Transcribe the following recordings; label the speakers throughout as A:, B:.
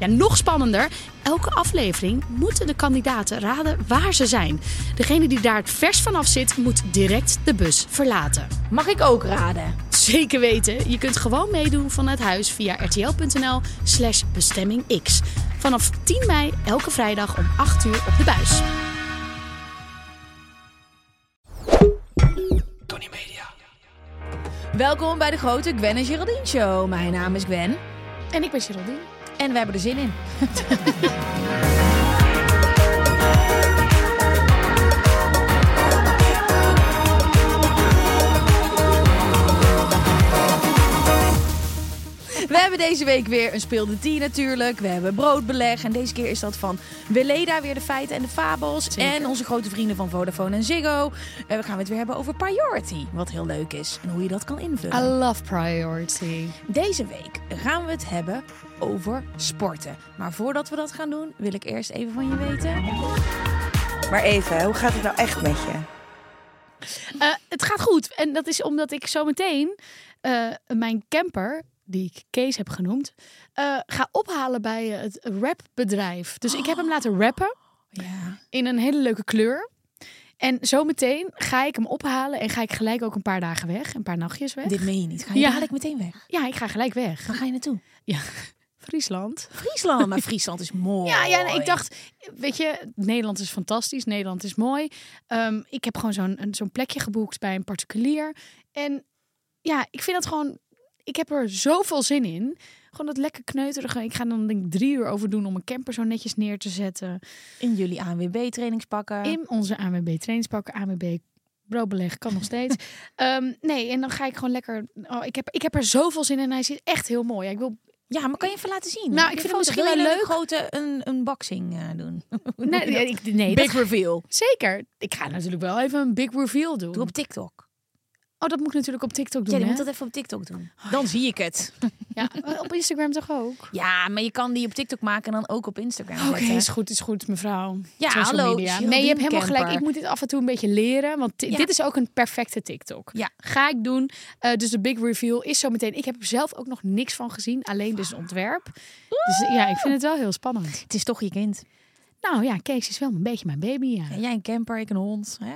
A: Ja, nog spannender. Elke aflevering moeten de kandidaten raden waar ze zijn. Degene die daar het vers vanaf zit, moet direct de bus verlaten.
B: Mag ik ook raden?
A: Zeker weten, je kunt gewoon meedoen vanuit huis via rtl.nl slash bestemmingx. Vanaf 10 mei elke vrijdag om 8 uur op de buis.
B: Welkom bij de grote Gwen en Geraldine Show. Mijn naam is Gwen
C: En ik ben Geraldine.
B: en we hebben er zin in. We hebben deze week weer een speelde tien natuurlijk. We hebben broodbeleg. En deze keer is dat van Weleda weer de feiten en de fabels. En onze grote vrienden van Vodafone en Ziggo. En we gaan het weer hebben over priority. Wat heel leuk is. En hoe je dat kan invullen.
C: love priority.
B: Deze week gaan we het hebben over sporten. Maar voordat we dat gaan doen, wil ik eerst even van je weten. Oh
D: Maar even, hoe gaat het nou echt met je?
C: Eh, het gaat goed. En dat is omdat ik zometeen eh, mijn camper, die ik Kees heb genoemd, eh, ga ophalen bij eh, het rapbedrijf. Dus ik heb hem laten rappen
B: Ja.
C: in een hele leuke kleur. En zometeen ga ik hem ophalen en ga ik gelijk ook een paar dagen weg. Een paar nachtjes weg.
B: Dit meen je niet. Ga je
C: Ja.
B: dadelijk meteen weg?
C: Ja, ik ga gelijk weg.
B: Waar ga je naartoe?
C: Ja, Friesland.
B: Friesland. Maar Friesland is mooi.
C: Ja, ja, nee, ik dacht, weet je, Nederland is fantastisch, Nederland is mooi. Ehm, ik heb gewoon zo'n een- zo'n plekje geboekt bij een particulier. En ja, ik vind dat gewoon, ik heb er zoveel zin in. Gewoon dat lekker kneuterige. Ik ga dan denk ik drie uur over doen om een camper zo netjes neer te zetten.
B: In jullie ANWB-trainingspakken.
C: In onze AMB trainingspakken, AMB broodbeleg kan nog steeds. Ehm, nee, en dan ga ik gewoon lekker. Oh, ik, heb, ik heb er zoveel zin in. Hij is echt heel mooi. Ja, ik wil
B: Ja, maar kan je even laten zien?
C: Nou, ik
B: Je
C: vind het
B: foto-
C: misschien
B: wil je
C: wel
B: een
C: leuk.
B: grote een, een boxing eh, doen.
C: nee, ja, ik, nee
B: Big
C: dat,
B: reveal.
C: zeker. Ik ga natuurlijk wel even een big reveal doen.
B: Doe op TikTok.
C: Oh, dat moet ik natuurlijk op TikTok doen.
B: ja, je
C: hè? Oh,
B: moet dat even op TikTok doen. Dan zie ik het.
C: ja, op Instagram toch ook?
B: Ja, maar je kan die op TikTok maken en dan ook op Instagram
C: Oké,
B: zetten.
C: is goed, is goed, mevrouw.
B: Ja,
C: Social
B: hallo,
C: media.
B: Geraldine
C: Nee, je hebt helemaal
B: Kemper.
C: gelijk. Ik moet dit af en toe een beetje leren. Want ti-
B: Ja.
C: dit is ook een perfecte TikTok.
B: Ja.
C: Ga ik doen. Eh, dus de big reveal is zo meteen. Ik heb er zelf ook nog niks van gezien. Alleen dus het ontwerp. Dus ja, ik vind het wel heel spannend.
B: Het is toch je kind.
C: Nou ja, Kees is wel een beetje mijn baby, ja.
B: Ja, jij een camper, ik een hond. Hè?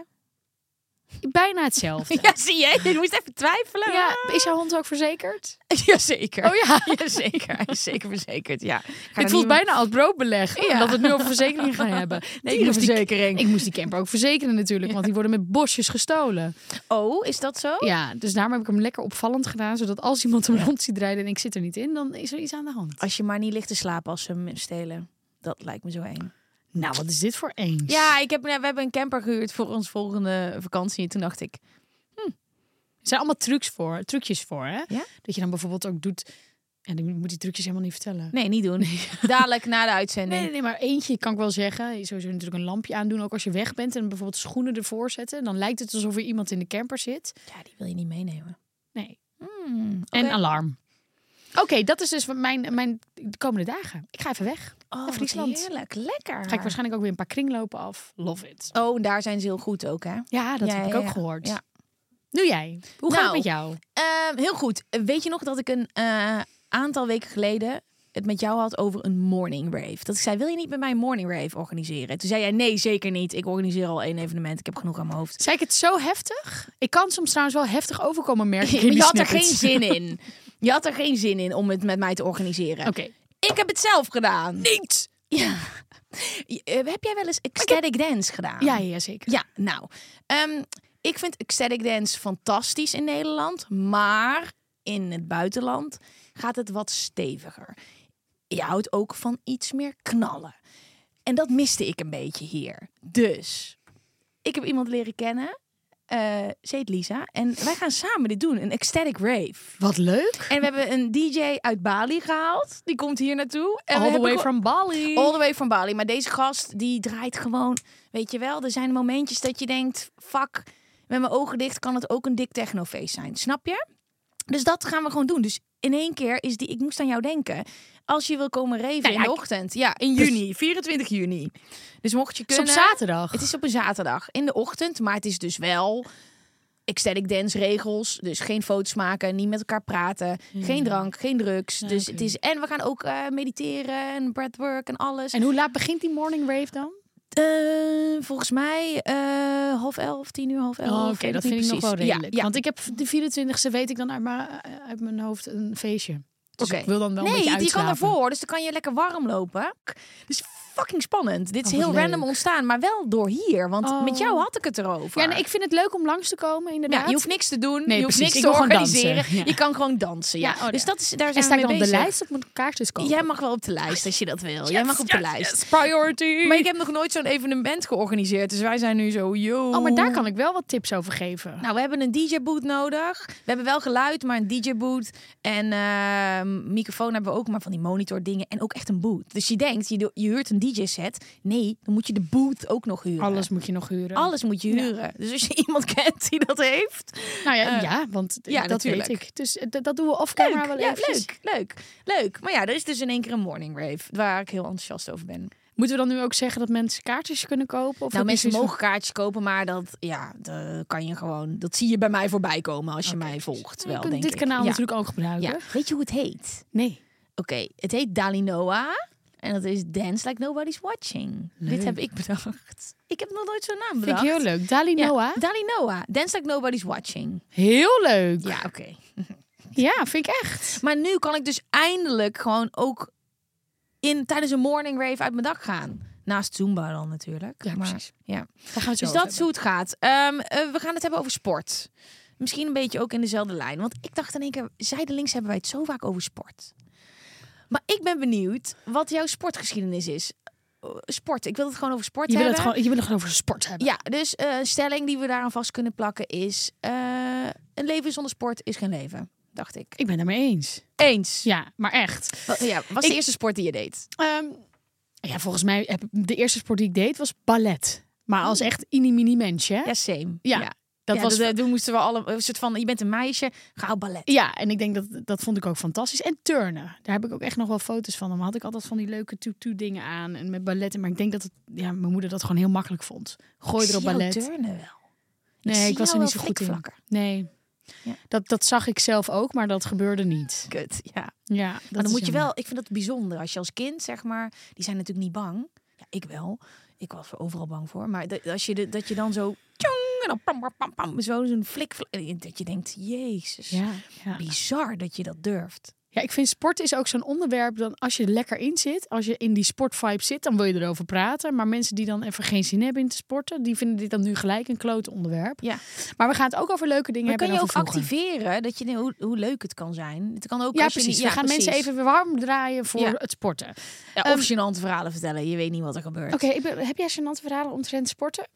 C: Bijna hetzelfde.
B: Ja, zie je? Je moest even twijfelen.
C: Ja, is jouw hond ook verzekerd?
B: Jazeker.
C: Oh ja.
B: zeker. Hij is zeker verzekerd, ja.
C: Dit voelt bijna als broodbeleg.
B: Ja.
C: Dat we het nu over verzekeringen gaan hebben.
B: Nee, ik moest die-
C: Dierenverzekering. ik moest die camper ook verzekeren natuurlijk. Want die worden met bosjes gestolen.
B: Oh, is dat zo?
C: Ja, dus daarom heb ik hem lekker opvallend gedaan. Zodat als iemand hem rond ziet rijden en ik zit er niet in, dan is er iets aan de hand.
B: Als je maar niet ligt te slapen als ze hem stelen. Dat lijkt me zo eng.
C: Nou, wat is dit voor eens?
B: Ja, ik heb, ja, we hebben een camper gehuurd voor ons volgende vakantie. En toen dacht ik,
C: Er zijn allemaal trucs voor, trucjes voor, hè?
B: Ja?
C: Dat je dan bijvoorbeeld ook doet... En ik moet die trucjes helemaal niet vertellen.
B: nee, niet doen. Dadelijk na de uitzending.
C: Nee, nee, nee, maar eentje kan ik wel zeggen. Sowieso natuurlijk een lampje aandoen, ook als je weg bent. En bijvoorbeeld schoenen ervoor zetten. Dan lijkt het alsof er iemand in de camper zit.
B: Ja, die wil je niet meenemen.
C: Nee,
B: Hmm, oké.
C: En alarm. Oké, dat is dus wat mijn, mijn de komende dagen. Ik ga even weg.
B: Oh,
C: naar
B: wat
C: Friesland.
B: heerlijk. Lekker.
C: Ga ik waarschijnlijk ook weer een paar kringlopen af. Love it.
B: Oh, en daar zijn ze heel goed ook, hè?
C: Ja, dat
B: Ja,
C: heb ik
B: ja,
C: ook
B: ja.
C: gehoord.
B: Ja.
C: Nu jij. Hoe gaat het
B: Nou,
C: met jou?
B: Ehm, heel goed. Weet je nog dat ik een eh, aantal weken geleden het met jou had over een morning rave? Dat ik zei, wil je niet met mij een morning rave organiseren? Toen zei jij, nee, zeker niet. Ik organiseer al één evenement. Ik heb genoeg aan mijn hoofd.
C: Zei ik het zo heftig? Ik kan soms trouwens wel heftig overkomen, merk ik. in
B: Maar
C: die
B: je had er geen
C: snippets.
B: zin in. Je had er geen zin in om het met mij te organiseren.
C: Oké.
B: Ik heb het zelf gedaan.
C: Niet!
B: Ja. Je- eh, heb jij wel eens ecstatic dance gedaan?
C: Ja, ja, zeker.
B: Ja, nou. ehm, ik vind ecstatic dance fantastisch in Nederland. Maar in het buitenland gaat het wat steviger. Je houdt ook van iets meer knallen. En dat miste ik een beetje hier. Dus ik heb iemand leren kennen. eh ze heet Lisa. En wij gaan samen dit doen. Een ecstatic rave.
C: Wat leuk.
B: En we hebben een DJ uit Bali gehaald. Die komt hier naartoe. En we
C: All the
B: hebben
C: way
B: gewoon-
C: from Bali.
B: All the way from Bali. Maar deze gast, die draait gewoon... Weet je wel, er zijn momentjes dat je denkt... Fuck, met mijn ogen dicht kan het ook een dik technofeest zijn. Snap je? Dus dat gaan we gewoon doen. Dus in één keer is die... Ik moest aan jou denken. Als je wil komen raven in
C: Nou ja,
B: de
C: ik-
B: ochtend. Ja, in juni. 24 juni. Dus mocht je
C: Dus Het is op
B: kunnen...
C: zaterdag.
B: Het is op een zaterdag in de ochtend, maar het is dus wel ecstatic dance regels. Dus geen foto's maken, niet met elkaar praten, geen drank, geen drugs. dus het is en we gaan ook eh, mediteren en breathwork en alles.
C: En hoe laat begint die morning rave
B: Oh,
C: dan?
B: Eh, volgens mij eh, half elf, tien uur, half elf.
C: Oh, Oké,
B: weet
C: dat
B: niet
C: vind ik nog
B: precies.
C: wel redelijk.
B: Ja, ja.
C: Want ik heb de 24e, weet ik dan uit, maar, uit mijn hoofd, een feestje. Dus
B: Oké.
C: ik wil dan wel een
B: nee,
C: beetje
B: die kan
C: uitslapen.
B: ervoor, dus dan kan je lekker warm lopen. Dus fucking spannend. Dit is
C: Oh, wat
B: heel
C: leuk.
B: random ontstaan, maar wel door hier. Want
C: Oh.
B: met jou had ik het erover.
C: Ja, nee, ik vind het leuk om langs te komen, inderdaad.
B: Ja, je hoeft niks te doen,
C: Nee,
B: je hoeft
C: precies.
B: niks
C: Ik
B: te
C: wil gewoon
B: organiseren.
C: dansen, ja.
B: Je kan gewoon dansen. Ja.
C: Ja, oh, ja.
B: Dus dat is, daar
C: en
B: zijn
C: sta
B: we
C: ik dan
B: mee
C: op de
B: bezig.
C: lijst of moet ik kaartjes kopen?
B: Jij mag wel op de lijst als je dat wil. Jij mag op de lijst.
C: Priority.
B: Maar ik heb nog nooit zo'n evenement georganiseerd, dus wij zijn nu zo, yo.
C: Oh, maar daar kan ik wel wat tips over geven.
B: Nou, we hebben een DJ-boot nodig. We hebben wel geluid, maar een DJ-boot. En ehm, microfoon hebben we ook, maar van die monitor dingen. En ook echt een boot. Dus je denkt, je, do- je huurt een DJ-set. Nee, dan moet je de boot ook nog huren.
C: Alles moet je nog huren.
B: Alles moet je huren. Dus als je iemand kent die dat heeft,
C: Nou ja,
B: Eh,
C: ja want
B: ja,
C: dat
B: natuurlijk.
C: weet ik. Dus eh, d- dat doen we off-camera wel
B: ja,
C: eventjes.
B: leuk, leuk, leuk. Maar ja, er is dus in één keer een morning rave waar ik heel enthousiast over ben.
C: Moeten we dan nu ook zeggen dat mensen kaartjes kunnen kopen? Of
B: nou,
C: heb je
B: mensen
C: zoiets van-
B: mogen kaartjes kopen, maar dat ja, dat kan je gewoon. Dat zie je bij mij voorbij komen als je mij volgt. Wel,
C: Je kunt
B: denk
C: dit
B: ik.
C: kanaal
B: Ja,
C: natuurlijk ook gebruiken.
B: Ja. Weet je hoe het heet?
C: Nee.
B: Oké, het heet Dali Noah. En dat is Dance Like Nobody's Watching. Dit heb ik bedacht. Ik heb nog nooit zo'n naam
C: Vind
B: bedacht.
C: ik heel leuk. Dali
B: Ja,
C: Noah.
B: Dali Noah. Dance Like Nobody's Watching.
C: Heel leuk.
B: Ja, oké.
C: Ja, vind ik echt.
B: Maar nu kan ik dus eindelijk gewoon ook in, tijdens een morning rave uit mijn dak gaan. Naast Zumba dan natuurlijk.
C: Ja,
B: maar,
C: precies.
B: Ja.
C: Daar gaan we het zo
B: Dus
C: over
B: dat is hoe het gaat. Ehm, eh, we gaan het hebben over sport. Misschien een beetje ook in dezelfde lijn. Want ik dacht in één keer, zijdelings hebben wij het zo vaak over sport. Maar ik ben benieuwd wat jouw sportgeschiedenis is. Eh, Sport, ik wil het gewoon over sport
C: hebben. je wil
B: hebben.
C: het gewoon, je wil het gewoon over sport hebben.
B: Ja, dus eh, een stelling die we daaraan vast kunnen plakken is... eh, een leven zonder sport is geen leven, dacht ik.
C: Ik ben het daarmee eens.
B: Eens.
C: Ja, maar echt.
B: Wat, ja, was de
C: Ik-
B: eerste sport die je deed?
C: Ehm, ja, volgens mij heb ik- de eerste sport die ik deed was ballet. Maar als echt inimini mensje. hè?
B: Ja, same.
C: Ja,
B: Dat
C: dat
B: was
C: was-
B: dat, eh, toen moesten we alle een soort van je bent een meisje, gauw ballet.
C: Ja, en ik denk dat dat vond ik ook fantastisch. En turnen, daar heb ik ook echt nog wel foto's van. Dan had ik altijd van die leuke tutu dingen aan en met balletten. Maar ik denk dat het, ja, mijn moeder dat gewoon heel makkelijk vond. Gooi
B: Ik
C: erop
B: zie jou
C: ballet.
B: turnen wel.
C: nee,
B: zie
C: ik was er
B: jou
C: niet
B: wel
C: zo goed in.
B: flikvlakken.
C: Nee,
B: Ja.
C: dat, dat zag ik zelf ook, maar dat gebeurde niet.
B: Kut, ja.
C: Ja, dat
B: maar
C: is
B: dan moet je
C: jammer.
B: wel, ik vind dat bijzonder als je als kind zeg maar, die zijn natuurlijk niet bang. Ja, ik wel. Ik was er overal bang voor, maar dat, als je de, dat je dan zo tjong, en dan pam pam pam, pam zo zo'n flik, flik- dat je denkt, jezus.
C: Ja, ja.
B: Bizar dat je dat durft.
C: ja, ik vind sport is ook zo'n onderwerp dan als je er lekker in zit, als je in die sportvibe zit, dan wil je erover praten. Maar mensen die dan even geen zin hebben in te sporten, die vinden dit dan nu gelijk een kloot onderwerp.
B: Ja.
C: Maar we gaan het ook over leuke dingen
B: Maar
C: hebben.
B: kan
C: en
B: je ook
C: over vroeger.
B: activeren dat je denkt, hoe, hoe leuk het kan zijn. Het kan ook
C: ja,
B: als je
C: precies.
B: niet-
C: we gaan
B: precies.
C: mensen even weer warm draaien voor
B: Ja.
C: het sporten.
B: Ja,
C: Ehm,
B: of gênante verhalen vertellen. Je weet niet wat er gebeurt.
C: Oké, ik ben- heb jij gênante verhalen omtrent sporten?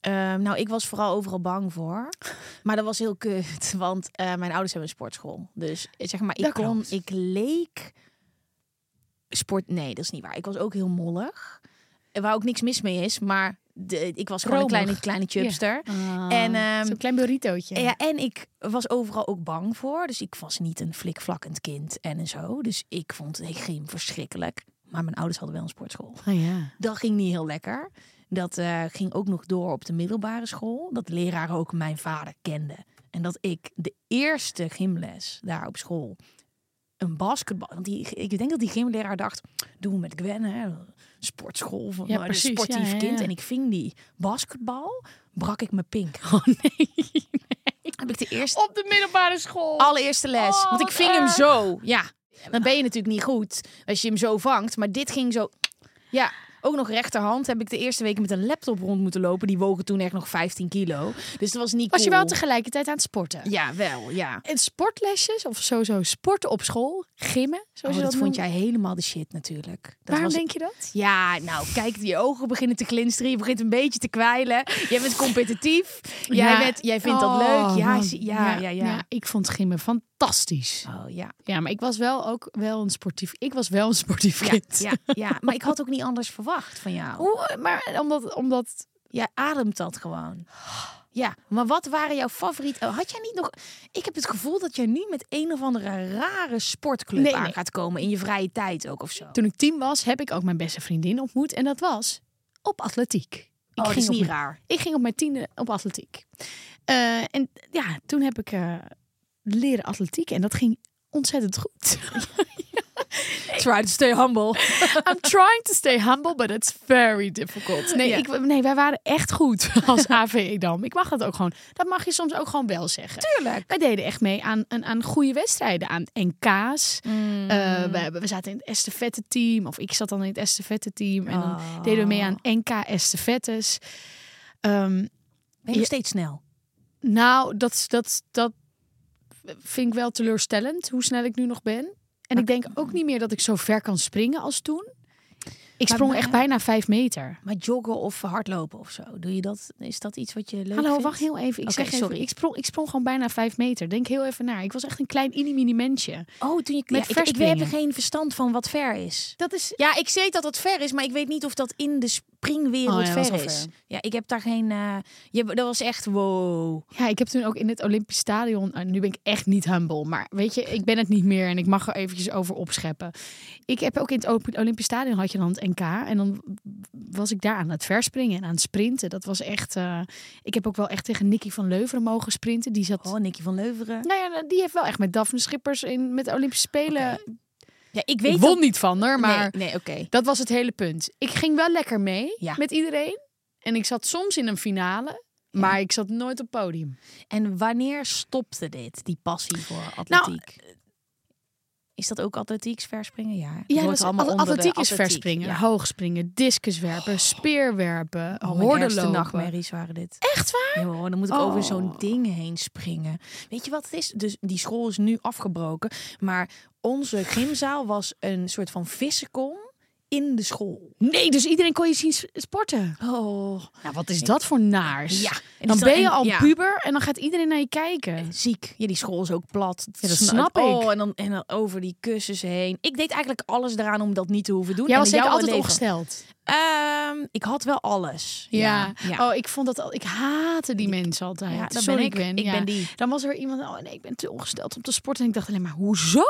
B: Ehm, nou, ik was vooral overal bang voor. Maar dat was heel kut, want eh, mijn ouders hebben een sportschool. Dus eh, zeg maar, ik
C: Dat
B: kon,
C: klopt.
B: ik leek sport. Nee, dat is niet waar. Ik was ook heel mollig. Eh, Waar ook niks mis mee is, maar de, ik was gewoon
C: Romig.
B: een kleine, kleine
C: Ja.
B: chubster.
C: en
B: En, ehm,
C: zo'n klein burritootje.
B: Ja. en ik was overal ook bang voor. Dus ik was niet een flikvlakkend kind en zo. Dus ik vond het gym verschrikkelijk. Maar mijn ouders hadden wel een sportschool.
C: Ah, ja.
B: Dat ging niet heel lekker. Dat eh, ging ook nog door op de middelbare school. Dat leraren ook mijn vader kenden. En dat ik de eerste gymles daar op school een basketbal. Want die, ik denk dat die gymleraar dacht: doen we met Gwen, hè? sportschool van
C: Ja,
B: maar een
C: precies.
B: sportief
C: Ja, ja,
B: kind.
C: ja.
B: En ik ving die basketbal, brak ik mijn pink.
C: Oh nee.
B: Heb ik de eerste,
C: Op de middelbare school.
B: allereerste les.
C: Oh,
B: want ik
C: wat
B: ving hem
C: erg.
B: zo. Ja, dan ben je natuurlijk niet goed als je hem zo vangt. Maar dit ging zo. Ja, Ook nog rechterhand heb ik de eerste weken met een laptop rond moeten lopen. Die wogen toen echt nog 15 kilo. Dus dat was niet
C: Was je
B: cool.
C: wel tegelijkertijd aan het sporten?
B: Ja, wel, ja.
C: En sportlesjes, of sowieso sporten op school, gimmen, zoals
B: Oh,
C: je
B: dat
C: dat, noemt.
B: vond jij helemaal de shit natuurlijk. Dat
C: Waarom
B: was-
C: denk je dat?
B: Ja, nou, kijk, die ogen beginnen te glinsteren. Je begint een beetje te kwijlen. Jij bent competitief. Jij,
C: Ja.
B: bent, jij vindt
C: Oh,
B: dat leuk. Ja,
C: man.
B: zie- ja, ja, ja.
C: Ik vond gimmen fantastisch.
B: Oh ja.
C: Ja, maar ik was wel ook wel een sportief. Ik was wel een sportief
B: Ja,
C: kind.
B: ja, ja, maar ik had ook niet anders verwacht van jou.
C: Hoe, maar omdat, omdat
B: Jij ademt dat gewoon. Ja, maar wat waren jouw favoriete... oh, Had jij niet nog... Ik heb het gevoel dat jij nu met een of andere rare sportclub
C: Nee,
B: aan
C: nee.
B: gaat komen. In je vrije tijd ook of zo.
C: toen ik tien was, heb ik ook mijn beste vriendin ontmoet en dat was op atletiek. Ik
B: Oh, dat is
C: op
B: niet
C: mijn-
B: raar.
C: Ik ging op mijn tiende op atletiek. Eh, en ja, toen heb ik eh, leren atletiek en dat ging ontzettend goed.
B: Try to stay humble.
C: I'm trying to stay humble, but it's very difficult. Nee,
B: Ja.
C: ik, nee wij waren echt goed als AV Edam. Ik mag dat ook gewoon. Dat mag je soms ook gewoon wel zeggen.
B: Tuurlijk.
C: Wij deden echt mee aan, aan, aan goede wedstrijden, aan NK's.
B: Mm.
C: Eh, we, hebben- we zaten in het estafette team, of ik zat dan in het estafette team. En dan
B: Oh.
C: deden we mee aan NK estafettes. Ehm,
B: Ben je nog steeds snel?
C: nou, dat, dat, dat vind ik wel teleurstellend, hoe snel ik nu nog ben. En ik denk ook niet meer dat ik zo ver kan springen als toen. Ik
B: Maar
C: sprong
B: bij-
C: echt bijna vijf meter.
B: Maar joggen of hardlopen of zo, doe je dat? Is dat iets wat je leuk
C: Hallo,
B: vindt?
C: wacht heel even. Ik
B: Oké,
C: zeg even,
B: sorry.
C: Ik sprong, ik sprong gewoon bijna vijf meter. Denk heel even naar. Ik was echt een klein mini-mini mensje.
B: Oh, toen je
C: Met
B: ja, ik, ik heb
C: verspringen.
B: geen verstand van wat ver is.
C: Dat is
B: Ja, ik weet dat het ver is, maar ik weet niet of dat in de springwereld
C: Oh ja, dat
B: ver
C: is
B: is.
C: wel ver.
B: Ja, ik heb daar geen. eh, je, dat was echt wow.
C: Ja, ik heb toen ook in het Olympisch Stadion. en nu ben ik echt niet humble, maar weet je, ik ben het niet meer en ik mag er eventjes over opscheppen. Ik heb ook in het Op- Olympisch Stadion had je dan het NK en dan was ik daar aan het verspringen en aan het sprinten. Dat was echt. eh, ik heb ook wel echt tegen Nicky van Leuveren mogen sprinten. Die zat.
B: Oh, Nicky van Leuveren.
C: Nou ja, die heeft wel echt met Daphne Schippers in met de Olympische Spelen.
B: Ja, ik weet
C: Ik won
B: dat-
C: niet van haar, maar
B: Nee, nee oké.
C: dat was het hele punt. Ik ging wel lekker mee
B: Ja.
C: met iedereen en ik zat soms in een finale, maar ik zat nooit op podium.
B: En wanneer stopte dit, die passie voor atletiek? Nou, eh, is dat ook atletiek, verspringen? Ja, het
C: Ja,
B: hoort
C: dat is,
B: allemaal
C: alle-
B: onder de
C: atletiek is
B: atletiek.
C: verspringen,
B: Ja.
C: hoogspringen, discuswerpen, speerwerpen,
B: Oh, mijn ergste
C: hordenlopen.
B: nachtmerries waren dit.
C: Echt waar?
B: Ja, hoor, dan moet ik
C: Oh.
B: over zo'n ding heen springen. Weet je wat het is? Dus die school is nu afgebroken. Maar onze gymzaal was een soort van vissenkom in de school.
C: Nee, dus iedereen kon je zien s- sporten.
B: Oh,
C: Nou, wat is dat voor naars?
B: Ja.
C: En dan
B: Dus
C: ben je
B: dan-
C: al
B: ja.
C: puber en dan gaat iedereen naar je kijken.
B: ziek. Ja, die school is ook plat.
C: Ja, dat
B: sna-
C: snap ik.
B: Oh, en dan, en dan over die kussens heen. Ik deed eigenlijk alles eraan om dat niet te hoeven doen.
C: Jij
B: En
C: was zeker
B: jouw
C: altijd
B: leven-
C: ongesteld.
B: Ehm, ik had wel alles.
C: Ja.
B: ja.
C: Oh, ik vond dat al. Ik haatte die mensen altijd.
B: Ja, dat
C: Sorry,
B: ben ik.
C: Gwen,
B: Ik
C: ja.
B: ben die.
C: Dan was er weer iemand. Oh nee, ik ben te ongesteld om te sporten. En ik dacht alleen maar, hoezo?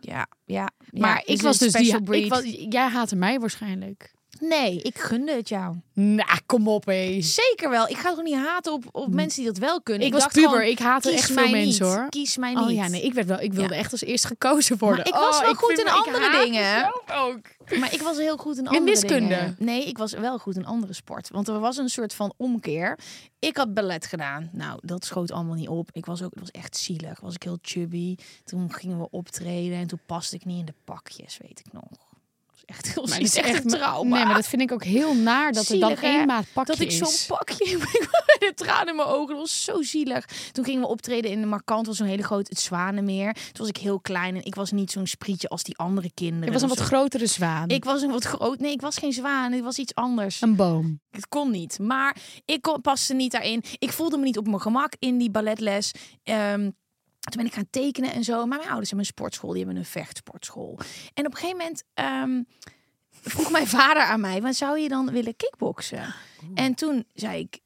B: ja, ja, ja.
C: maar
B: Dus
C: ik was
B: een
C: dus die.
B: special breed.
C: Ik was, jij haatte mij waarschijnlijk.
B: Nee, ik gunde het jou.
C: Nou, kom op eens.
B: Zeker wel. Ik ga toch niet haten op, op mensen die dat wel kunnen.
C: Hm. Ik was
B: dacht
C: puber.
B: gewoon,
C: ik haatte
B: kies
C: echt veel
B: mij
C: mensen
B: niet.
C: hoor.
B: Kies mij niet.
C: Oh ja, nee, ik, werd wel, ik wilde echt als eerst gekozen worden.
B: Maar ik was
C: Oh,
B: wel goed
C: vind
B: in
C: me- ik
B: andere
C: haat
B: dingen.
C: mezelf ook.
B: Maar ik was heel goed in andere
C: wiskunde?
B: dingen. Nee, ik was wel goed in andere sport. Want er was een soort van omkeer. Ik had ballet gedaan. Nou, dat schoot allemaal niet op. Ik was ook, het was echt zielig. Was ik heel chubby. Toen gingen we optreden en toen paste ik niet in de pakjes, weet ik nog. Dat was echt heel
C: Maar
B: zielig.
C: dat is echt
B: een
C: me-
B: trauma.
C: Nee, maar dat vind ik ook heel naar dat er
B: Zielig,
C: dan
B: hè?
C: één maat pakje
B: dat ik
C: is.
B: zo'n pakje heb. Ik had de tranen in mijn ogen. Dat was zo zielig. Toen gingen we optreden in de Markant. was zo'n hele groot het Zwanenmeer. Toen was ik heel klein en ik was niet zo'n sprietje als die andere kinderen.
C: Ik was een
B: of
C: wat
B: zo.
C: grotere zwaan.
B: Ik was een wat groot. Nee, ik was geen zwaan. Ik was iets anders.
C: een boom.
B: Het kon niet. Maar ik kon, paste niet daarin. Ik voelde me niet op mijn gemak in die balletles. Ehm, toen ben ik gaan tekenen en zo. Maar mijn ouders hebben een sportschool. Die hebben een vechtsportschool. En op een gegeven moment ehm, vroeg mijn vader aan mij... "Wat zou je dan willen kickboksen? En toen zei ik...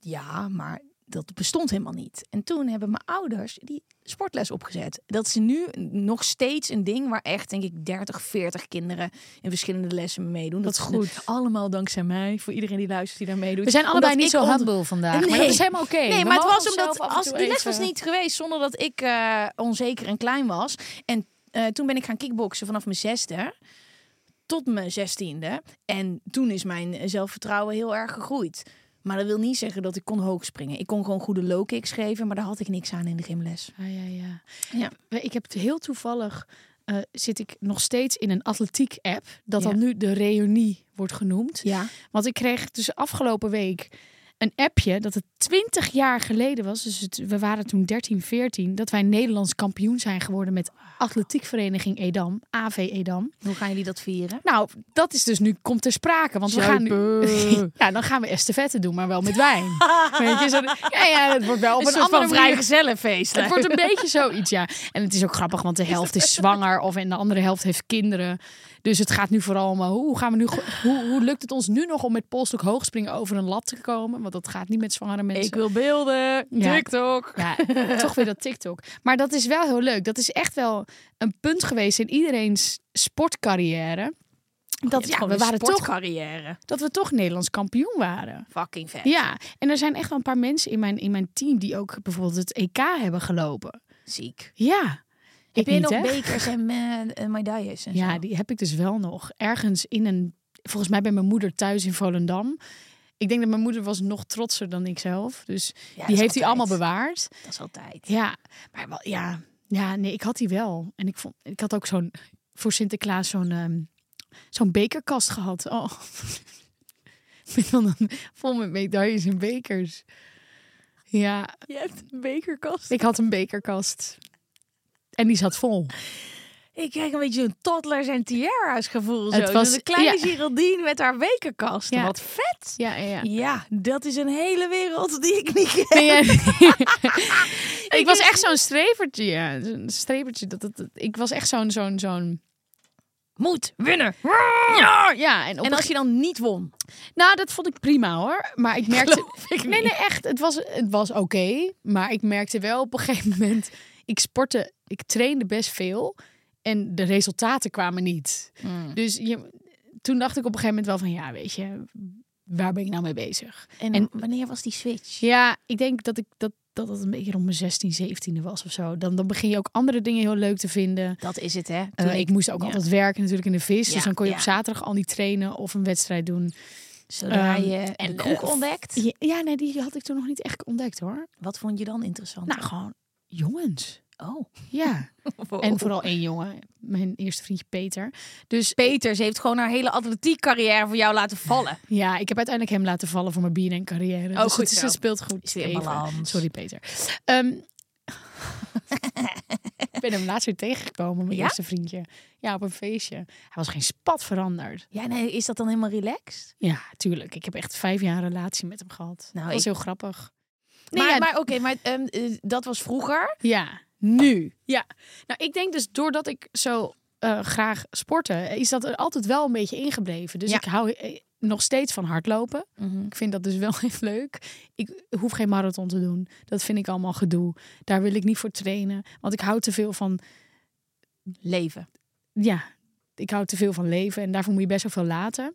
B: Ja, maar dat bestond helemaal niet. En toen hebben mijn ouders die sportles opgezet. Dat is nu nog steeds een ding waar echt, denk ik, 30, 40 kinderen in verschillende lessen mee meedoen.
C: Dat is goed.
B: Allemaal dankzij mij, voor iedereen die luistert die daar meedoet.
C: We zijn allebei
B: Omdat
C: niet
B: ik
C: zo
B: ont-
C: humble vandaag, maar
B: Nee.
C: dat is helemaal oké.
B: Nee,
C: We
B: maar het
C: mogen
B: was omdat
C: onszelf af en
B: als
C: toe
B: die les was
C: even-
B: niet geweest zonder dat ik eh, onzeker en klein was. En eh, toen ben ik gaan kickboksen vanaf mijn zesde tot mijn zestiende. En toen is mijn zelfvertrouwen heel erg gegroeid. Maar dat wil niet zeggen dat ik kon hoog springen. Ik kon gewoon goede low kicks geven, maar daar had ik niks aan in de gymles.
C: Ah, Ja, ja, ja.
B: Ja.
C: We- Ik heb het heel toevallig eh, zit ik nog steeds in een atletiek app. Dat
B: Ja.
C: dan nu de reunie wordt genoemd.
B: Ja.
C: Want ik kreeg dus afgelopen week een appje dat het 20 jaar geleden was. Dus het- we waren toen 13, 14. Dat wij Nederlands kampioen zijn geworden met atletiekvereniging Edam. AV Edam.
B: Hoe gaan jullie dat vieren?
C: Nou, dat is dus nu komt ter sprake. Want we gaan nu.
B: Zuipen.
C: Ja, dan gaan we estafette doen, maar wel met wijn. Weet je, zo, ja, ja, het wordt wel op een, andere manier.
B: vrijgezellenfeest.
C: Het wordt een beetje zoiets, ja. En het is ook grappig, want de helft is zwanger of en de andere helft heeft kinderen. Dus het gaat nu vooral om eh, hoe gaan we nu, go- hoe, hoe lukt het ons nu nog om met polstok hoogspringen over een lat te komen? Want dat gaat niet met zwangere mensen.
B: Ik wil beelden.
C: Ja.
B: TikTok.
C: Ja, toch weer dat TikTok. Maar dat is wel heel leuk. Dat is echt wel een punt geweest in iedereen's sportcarrière. Dat, ja, we waren toch,
B: carrière.
C: dat we toch Nederlands kampioen waren.
B: Fucking vet.
C: Ja, en er zijn echt wel een paar mensen in mijn, in mijn team die ook bijvoorbeeld het EK hebben gelopen.
B: Ziek.
C: Ja. Ik
B: Heb je
C: niet,
B: nog
C: hè?
B: bekers en eh, en medailles en
C: Ja,
B: zo?
C: die heb ik dus wel nog. Ergens in een, volgens mij bij mijn moeder thuis in Volendam. Ik denk dat mijn moeder was nog trotser dan ik zelf. Dus
B: Ja, dat
C: die
B: is
C: heeft hij allemaal
B: altijd.
C: bewaard.
B: Dat is altijd.
C: Ja, maar wel, ja, ja, nee, ik had die wel. En ik vond, ik had ook zo'n voor Sinterklaas zo'n ehm, zo'n bekerkast gehad. Oh. Met dan een, vol met medailles en bekers. Ja,
B: Je hebt een bekerkast.
C: ik had een bekerkast. En die zat vol.
B: Ik krijg een beetje een toddlers en tiara's gevoel.
C: Het
B: zo.
C: was-
B: Dus een kleine
C: ja.
B: Geraldine met haar bekerkast.
C: Ja.
B: Wat vet.
C: Ja, ja.
B: Ja, dat is een hele wereld die ik niet ken.
C: Ben jij- ik was echt zo'n strevertje. Ja. Zo'n strevertje. Dat, dat, dat- ik was echt zo'n... zo'n zo'n
B: Moet, winnen.
C: Oh, ja, en, op
B: En
C: een
B: als je dan niet won,
C: Nou, dat vond ik prima hoor. Maar ik merkte.
B: Geloof ik
C: nee, nee, echt. Het was, het was oké. maar ik merkte wel op een gegeven moment. Ik sportte, ik trainde best veel. En de resultaten kwamen niet. Dus je, toen dacht ik op een gegeven moment wel van ja, weet je, waar ben ik nou mee bezig?
B: En,
C: En-
B: wanneer was die switch?
C: Ja, ik denk dat ik dat dat het een beetje rond mijn 16, 17e was of zo. Dan, dan begin je ook andere dingen heel leuk te vinden.
B: Dat is het, hè?
C: Eh, ik, moest ook
B: ja.
C: altijd werken natuurlijk in de vis.
B: Ja,
C: dus dan kon je
B: ja.
C: op zaterdag al niet trainen of een wedstrijd doen.
B: Zodra
C: Ehm,
B: je en
C: en,
B: de kroeg
C: eh,
B: ontdekt,
C: Ja, ja, nee, die had ik toen nog niet echt ontdekt hoor.
B: wat vond je dan interessant?
C: Nou, gewoon jongens.
B: oh.
C: Ja. En
B: En
C: vooral één jongen. Mijn eerste vriendje Peter. Dus
B: Peters heeft gewoon haar hele atletiek carrière voor jou laten vallen.
C: ja, ik heb uiteindelijk hem laten vallen voor mijn bier en carrière.
B: Oh,
C: dus
B: goed
C: het, is-
B: zo.
C: het speelt goed.
B: Is weer in
C: Even.
B: balans.
C: Sorry Peter. Ehm, ik ben hem laatst weer tegengekomen, mijn
B: Ja?
C: eerste vriendje. Ja, op een feestje. Hij was geen spat veranderd.
B: Ja, nee, is dat dan helemaal relaxed?
C: Ja, tuurlijk. Ik heb echt vijf jaar een relatie met hem gehad.
B: Nou,
C: dat was
B: ik-
C: heel grappig.
B: Nee,
C: Maar-
B: maar, maar oké, maar ehm, eh, dat was vroeger.
C: Ja. Nu. Ja. Nou, ik denk dus doordat ik zo eh, graag sportte, is dat er altijd wel een beetje ingebleven. Dus
B: Ja. Mhm.
C: ik hou eh, nog steeds van hardlopen. Ik vind dat dus wel echt leuk. Ik hoef geen marathon te doen. Dat vind ik allemaal gedoe. Daar wil ik niet voor trainen. Want ik hou te veel van,
B: Leven.
C: ja, ik hou te veel van leven. En daarvoor moet je best wel veel laten.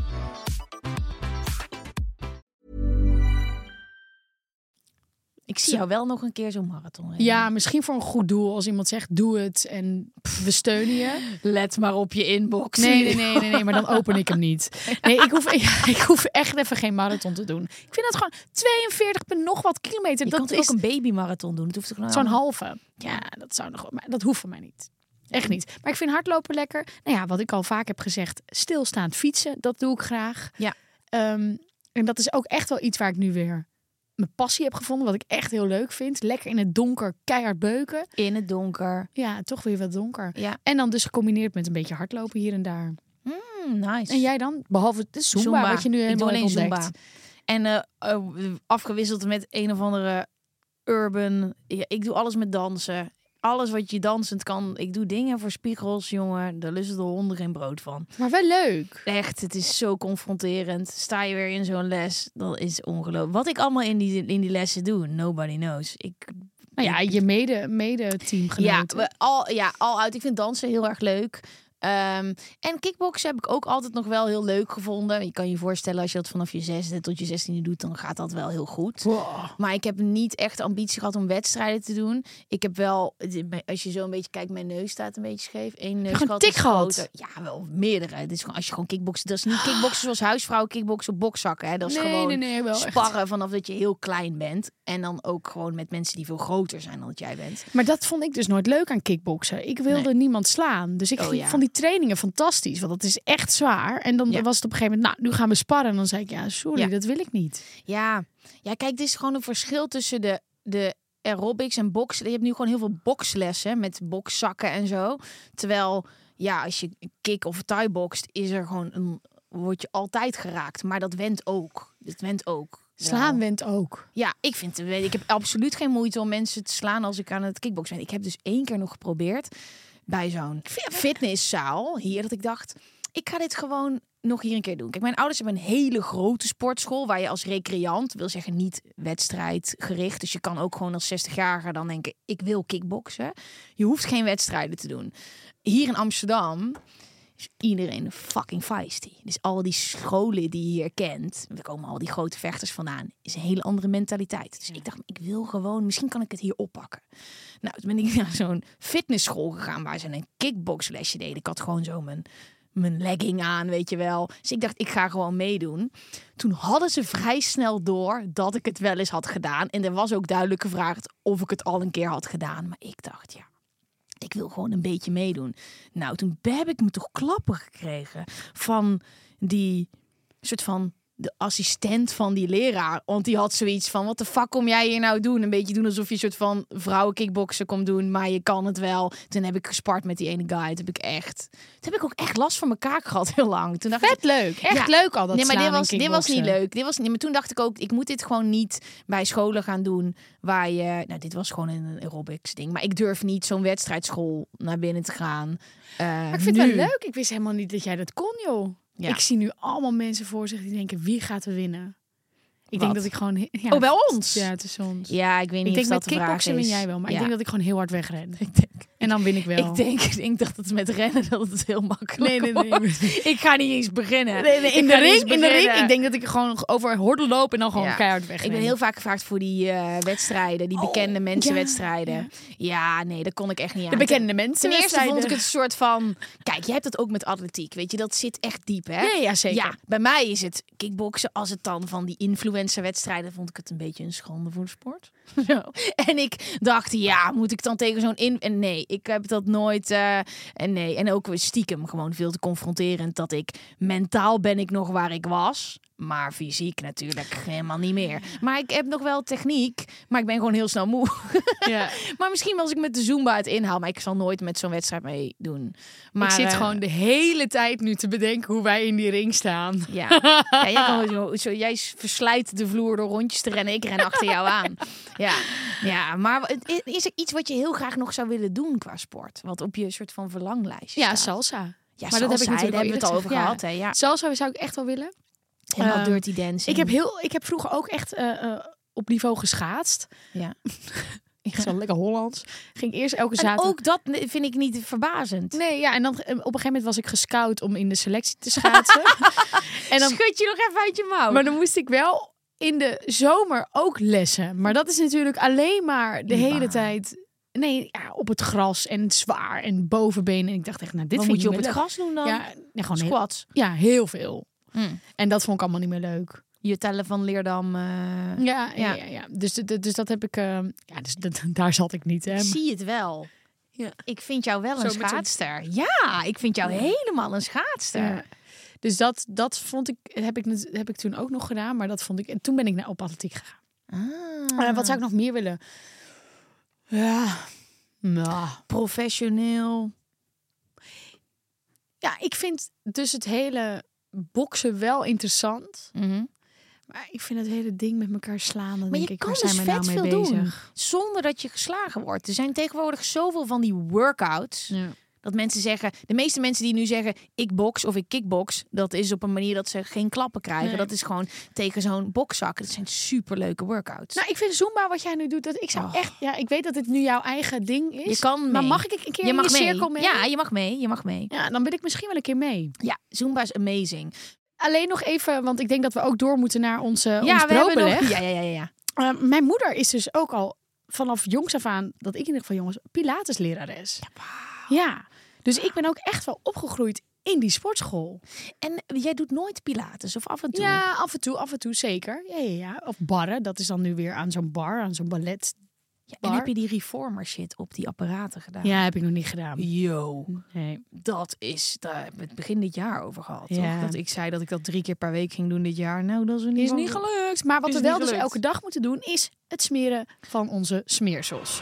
B: Ik zie jou wel nog een keer zo'n marathon. rennen.
C: Ja, misschien voor een goed doel. Als iemand zegt, doe het en pff, we steunen je.
B: Let maar op je inbox.
C: Nee, nee, nee, nee, nee, maar dan open ik hem niet. Nee, ik hoef, ik, hoef echt even geen marathon te doen. Ik vind dat gewoon 42, punt nog wat kilometer.
B: Je kan
C: dat
B: toch ook
C: is
B: een babymarathon doen. Het hoeft toch nou
C: zo'n halve. Ja, dat zou nog, maar dat hoeft voor mij niet. Echt niet. Maar ik vind hardlopen lekker. Nou ja, wat ik al vaak heb gezegd, stilstaand fietsen, dat doe ik graag.
B: Ja.
C: Ehm, en dat is ook echt wel iets waar ik nu weer mijn passie heb gevonden, wat ik echt heel leuk vind. Lekker in het donker, keihard beuken.
B: in het donker.
C: Ja, toch weer wat donker.
B: Ja.
C: En dan dus gecombineerd met een beetje hardlopen hier en daar.
B: Mm, nice.
C: En jij dan? Behalve de Zumba, wat je nu
B: Ik
C: helemaal
B: doe alleen
C: hebt ontdekt.
B: Zumba. En eh, eh, afgewisseld met een of andere urban. Ja, ik doe alles met dansen. Alles wat je dansend kan. Ik doe dingen voor spiegels, jongen. Daar lusten de honden geen brood van.
C: Maar wel leuk.
B: Echt, het is zo confronterend. Sta je weer in zo'n les, dat is ongelooflijk. Wat ik allemaal in die, in die lessen doe, nobody knows. Ik
C: Nou ja, je mede, mede
B: Ja,
C: teamgenoten.
B: we- al, ja, al uit. Ik vind dansen heel erg leuk. Ehm, en kickboksen heb ik ook altijd nog wel heel leuk gevonden. Je kan je voorstellen, als je dat vanaf je zesde tot je zestiende doet, dan gaat dat wel heel goed. Maar ik heb niet echt de ambitie gehad om wedstrijden te doen. Ik heb wel, als je zo een beetje kijkt, mijn neus staat een beetje scheef. Eén neus
C: gewoon tik gehad?
B: Ja, wel meerdere. Het is gewoon, als je gewoon kickboksen, dat is niet kickboksen zoals huisvrouwen kickboksen op bokzakken. Hè. Dat is
C: nee,
B: gewoon
C: nee, nee, wel echt.
B: sparren vanaf dat je heel klein bent. En dan ook gewoon met mensen die veel groter zijn dan dat jij bent.
C: Maar dat vond ik dus nooit leuk aan kickboksen. Ik wilde niemand slaan. Dus ik
B: Oh,
C: vond
B: ja.
C: die trainingen fantastisch. Want dat is echt zwaar. En dan
B: Ja.
C: was het op een gegeven moment, nou, nu gaan we sparren. En dan zei ik, ja, sorry,
B: Ja.
C: dat wil ik niet.
B: Ja. ja, kijk, dit is gewoon een verschil tussen de, de aerobics en boksen. Je hebt nu gewoon heel veel bokslessen met bokszakken en zo. Terwijl, ja, als je kick of thai bokst, is er gewoon een, word je altijd geraakt. Maar dat went ook. Dat went ook. wel.
C: Slaan went ook.
B: Ja, ik vind eh, ik heb absoluut geen moeite om mensen te slaan als ik aan het kickboksen ben. Ik heb dus één keer nog geprobeerd bij zo'n fitnesszaal hier dat ik dacht ik ga dit gewoon nog hier een keer doen. Kijk, mijn ouders hebben een hele grote sportschool waar je als recreant, wil zeggen niet wedstrijdgericht, dus je kan ook gewoon als 60-jarige dan denken ik wil kickboksen. Je hoeft geen wedstrijden te doen. Hier in Amsterdam is iedereen fucking feisty. Dus al die scholen die je hier kent, daar komen al die grote vechters vandaan, is een hele andere mentaliteit. Dus ik dacht, ik wil gewoon, misschien kan ik het hier oppakken. Nou, toen ben ik naar zo'n fitnessschool gegaan waar ze een kickboxlesje deden. Ik had gewoon zo mijn, mijn legging aan, weet je wel. Dus ik dacht, ik ga gewoon meedoen. Toen hadden ze vrij snel door dat ik het wel eens had gedaan. En er was ook duidelijk gevraagd of ik het al een keer had gedaan. Maar ik dacht, ja, ik wil gewoon een beetje meedoen. Nou, toen heb ik me toch klappen gekregen van die soort van de assistent van die leraar. Want die had zoiets van, wat de fuck kom jij hier nou doen? Een beetje doen alsof je een soort van vrouwenkickboksen komt doen, maar je kan het wel. Toen heb ik gespart met die ene guy. Toen heb ik echt, toen heb ik ook echt last van mijn kaak gehad heel lang. Toen dacht ik,
C: Vet leuk. Echt
B: Ja.
C: leuk al dat
B: nee, maar dit
C: slaan en
B: was, dit was
C: kickboksen.
B: niet leuk. Dit was, nee, maar toen dacht ik ook, ik moet dit gewoon niet bij scholen gaan doen waar je... Nou, dit was gewoon een aerobics ding. Maar ik durf niet zo'n wedstrijdschool naar binnen te gaan. Eh,
C: Maar ik vind
B: nu.
C: het wel leuk. Ik wist helemaal niet dat jij dat kon, joh.
B: Ja.
C: Ik zie nu allemaal mensen voor zich die denken, wie gaat er winnen? Ik denk
B: Wat?
C: dat ik gewoon... he- Ja,
B: Oh, bij ons?
C: Ja, tussen ons.
B: Ja, ik weet niet
C: ik denk
B: of
C: met
B: dat de vraag
C: kickboksen
B: is.
C: win jij wel. Maar
B: Ja.
C: ik denk dat ik gewoon heel hard wegren.
B: Ik denk,
C: En dan win ik wel.
B: ik denk, ik denk dat het met rennen dat het heel makkelijk
C: Nee, nee, nee.
B: wordt. Ik ga niet eens beginnen. Ik
C: in de
B: ga niet
C: ring,
B: eens
C: in de ring.
B: beginnen.
C: Ik denk dat ik gewoon over horden loop en dan gewoon
B: Ja.
C: keihard weg.
B: Ik ben heel vaak gevraagd voor die eh, wedstrijden, die bekende mensenwedstrijden. Ja.
C: Oh, ja.
B: nee, dat kon ik echt niet aan.
C: de bekende mensen.
B: Ten eerste vond ik het een soort van. Kijk, je hebt dat ook met atletiek. Weet je, dat zit echt diep, hè?
C: Nee, ja, zeker.
B: Ja, bij mij is het kickboksen. Als het dan van die influencerwedstrijden vond ik het een beetje een schande voor de sport. Zo. En ik dacht, ja, moet ik dan tegen zo'n in? En nee, ik heb dat nooit. eh, en nee, en ook stiekem gewoon veel te confronterend dat ik mentaal ben ik nog waar ik was. Maar fysiek natuurlijk helemaal niet meer. Maar ik heb nog wel techniek, maar ik ben gewoon heel snel moe.
C: Ja.
B: Maar misschien was ik met de Zumba het inhaal. Maar ik zal nooit met zo'n wedstrijd meedoen. Maar
C: ik zit
B: eh,
C: gewoon de hele tijd nu te bedenken hoe wij in die ring staan.
B: Ja. ja jij, kan gewoon zo, zo- jij verslijt de vloer door rondjes te rennen. Ik ren achter jou aan. Ja, ja maar het- i- is er iets wat je heel graag nog zou willen doen qua sport? Wat op je soort van verlanglijstje
C: Ja,
B: staat?
C: salsa.
B: Ja,
C: maar dat heb ik
B: salsa,
C: natuurlijk
B: daar
C: al
B: hebben we het al
C: eerder
B: over
C: gezegd,
B: gehad. Hè? Ja.
C: Salsa zou ik echt wel willen.
B: Helemaal
C: Ehm,
B: dirty dancing.
C: Ik heb, heel, ik heb vroeger ook echt eh, eh, op niveau geschaatst.
B: Ja.
C: ik zo lekker Hollands. Ging eerst elke
B: en
C: zaterdag.
B: ook dat vind ik niet verbazend.
C: Nee, ja, en dan eh, op een gegeven moment was ik gescout om in de selectie te schaatsen. en dan
B: Schud je nog even uit je mouw.
C: Maar dan moest ik wel in de zomer ook lessen. Maar dat is natuurlijk alleen maar de
B: In de
C: hele
B: baan.
C: tijd. Nee, ja, op het gras en zwaar en bovenbenen. En ik dacht echt, nou, dit
B: Wat
C: vind
B: moet
C: ik
B: je op
C: niet
B: het
C: meer
B: gras doen dan?
C: leuk. Ja, nee, gewoon heel,
B: Squats.
C: ja, heel veel.
B: Mm.
C: En dat vond ik allemaal niet meer leuk.
B: Je tellen van Leerdam. eh,
C: Ja, ja,
B: Ja.
C: ja. ja. Dus, d- d- dus dat heb ik. eh, ja, dus dat, daar zat ik niet. Hè.
B: Ik zie het wel.
C: Ja.
B: Ik vind jou wel
C: Zo
B: een
C: met zo'n-
B: schaatster. Ja, ik vind jou helemaal een schaatster.
C: Ja. Dus dat, dat vond ik, heb ik, net- heb ik toen ook nog gedaan. Maar dat vond ik. En toen ben ik naar op atletiek gegaan.
B: Ah.
C: Eh, wat zou ik nog meer willen? Ja. Nou.
B: professioneel.
C: Ja, ik vind dus het hele boksen wel interessant. Maar ik vind het hele ding met elkaar slaan. Dan
B: Mhm. Maar
C: denk
B: je
C: ik,
B: kan
C: waar
B: dus
C: zijn we nou
B: vet
C: mee
B: veel doen.
C: bezig?
B: Zonder dat je geslagen wordt. Er zijn tegenwoordig zoveel van die workouts.
C: Ja.
B: Dat mensen zeggen, de meeste mensen die nu zeggen ik box of ik kickbox, dat is op een manier dat ze geen klappen krijgen.
C: Nee.
B: Dat is gewoon tegen zo'n bokzak. Dat zijn superleuke workouts.
C: Nou, ik vind Zumba wat jij nu doet, dat ik zou
B: Oh.
C: echt... Ja, ik weet dat dit nu jouw eigen ding is.
B: Je kan mee.
C: Maar mag ik een keer
B: je mag
C: in je
B: mee.
C: cirkel mee?
B: Ja, je mag mee. Je mag mee.
C: ja, dan ben ik misschien wel een keer mee.
B: Ja, Zumba is amazing.
C: Alleen nog even, want ik denk dat we ook door moeten naar onze, ons
B: we hebben
C: broodbeleg.
B: nog- Ja, ja, ja, ja, ja.
C: Eh, mijn moeder is dus ook al vanaf jongs af aan, dat ik in ieder geval jongens, pilateslerares. Ja, dus ik ben ook echt wel opgegroeid in die sportschool.
B: En jij doet nooit pilates of af en toe?
C: Ja, af en toe, af en toe zeker. Ja, ja, ja. Of barren, dat is dan nu weer aan zo'n bar, aan zo'n ballet.
B: Ja, en
C: bar.
B: heb je die reformer shit op die apparaten gedaan?
C: Ja, heb ik nog niet gedaan.
B: Yo,
C: Nee.
B: dat is, daar hebben we het begin dit jaar over gehad. toch?
C: Ja.
B: Dat ik zei dat ik dat drie keer per week ging doen dit jaar. Nou, dat is niet,
C: Is
B: mogelijk.
C: niet gelukt. Maar wat
B: Is
C: we
B: niet
C: wel dus
B: gelukt.
C: elke dag moeten doen, is het smeren van onze smeersels.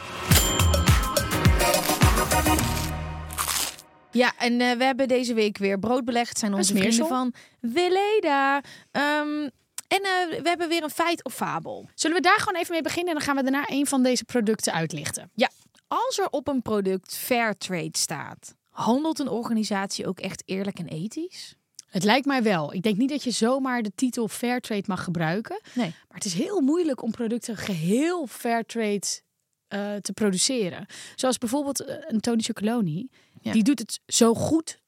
B: Ja, en eh, we hebben deze week weer brood belegd. zijn onze
C: smeersel.
B: vrienden van Weleda. Ehm, en eh, we hebben weer een feit of fabel.
C: Zullen we daar gewoon even mee beginnen en dan gaan we daarna een van deze producten uitlichten.
B: Ja, als er op een product fair trade staat, handelt een organisatie ook echt eerlijk en ethisch?
C: Het lijkt mij wel. Ik denk niet dat je zomaar de titel Fairtrade mag gebruiken.
B: Nee.
C: Maar het is heel moeilijk om producten geheel Fairtrade eh te produceren. Zoals bijvoorbeeld eh, een Tony Chocoloni.
B: Ja.
C: Die doet het zo goed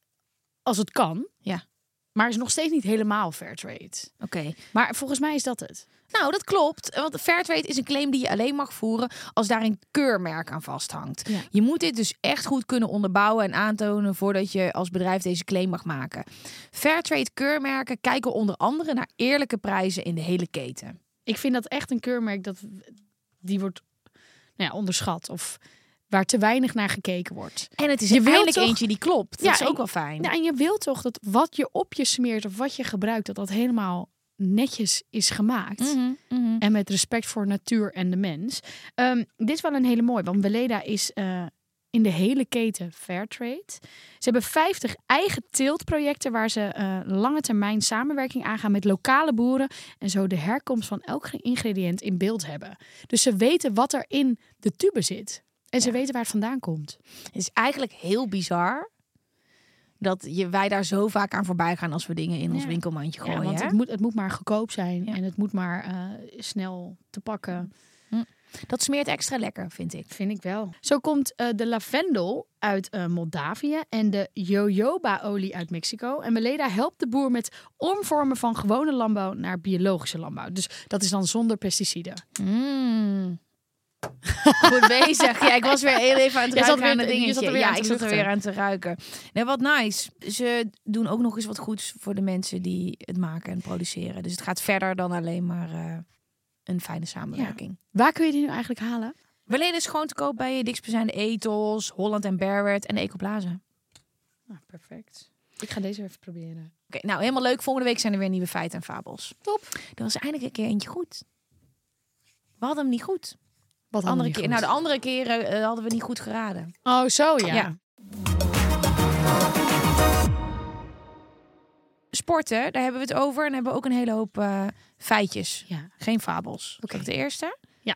C: als het kan.
B: Ja.
C: Maar is nog steeds niet helemaal Fairtrade.
B: Oké.
C: Maar volgens mij is dat het.
B: Nou, dat klopt. Want Fairtrade is een claim die je alleen mag voeren als daar een keurmerk aan vasthangt.
C: Ja.
B: Je moet dit dus echt goed kunnen onderbouwen en aantonen voordat je als bedrijf deze claim mag maken. Fairtrade keurmerken kijken onder andere naar eerlijke prijzen in de hele keten.
C: Ik vind dat echt een keurmerk dat die wordt nou ja, onderschat of waar te weinig naar gekeken wordt.
B: En het is
C: Je wilt
B: eindelijk
C: toch-
B: eentje die klopt. Dat
C: Ja,
B: is
C: en-
B: ook wel fijn.
C: Ja, en je wilt toch dat wat je op je smeert of wat je gebruikt, dat dat helemaal netjes is gemaakt.
B: Mhm, mhm.
C: En met respect voor natuur en de mens. Ehm, dit is wel een hele mooie, want Weleda is eh, in de hele keten Fairtrade. Ze hebben 50 eigen teeltprojecten waar ze eh, lange termijn samenwerking aangaan met lokale boeren. En zo de herkomst van elk ingrediënt in beeld hebben. Dus ze weten wat er in de tube zit. En ze weten waar het vandaan komt.
B: Het is eigenlijk heel bizar dat je, wij daar zo vaak aan voorbij gaan als we dingen in ons
C: Ja.
B: winkelmandje gooien.
C: Ja, want
B: hè?
C: het moet, het moet maar goedkoop zijn
B: Ja.
C: en het moet maar eh, snel te pakken,
B: Dat smeert extra lekker, vind ik.
C: vind ik wel. Zo komt eh, de lavendel uit eh, Moldavië en de jojoba-olie uit Mexico. En Meleda helpt de boer met omvormen van gewone landbouw naar biologische landbouw. Dus dat is dan zonder pesticiden.
B: Mm. Goed bezig. Ja, ik was weer heel even aan het
C: Je zat
B: ruiken
C: weer
B: aan het
C: te- je
B: dingetje.
C: zat er weer
B: ja,
C: aan te
B: ik zat er weer
C: luchten.
B: aan te ruiken. Nee, wat nice. Ze doen ook nog eens wat goeds voor de mensen die het maken en produceren. Dus het gaat verder dan alleen maar eh, een fijne samenwerking.
C: Waar kun je die nu eigenlijk halen?
B: We lenen is gewoon te koop bij Diksbezijnde Etos, Holland en Barrett en de Ecoblazen.
C: Ah, perfect. Ik ga deze even proberen.
B: Oké, nou helemaal leuk. Volgende week zijn er weer nieuwe feiten en fabels.
C: Top.
B: Er was eindelijk een keer eentje goed. We hadden hem niet goed.
C: Wat
B: Andere
C: keer.
B: keer, nou, de andere keren eh, hadden we niet goed geraden.
C: Oh, zo ja.
B: Ja. Sporten, daar hebben we het over. En hebben we ook een hele hoop eh, feitjes.
C: Ja.
B: Geen fabels.
C: Oké.
B: Oké. De eerste.
C: Ja.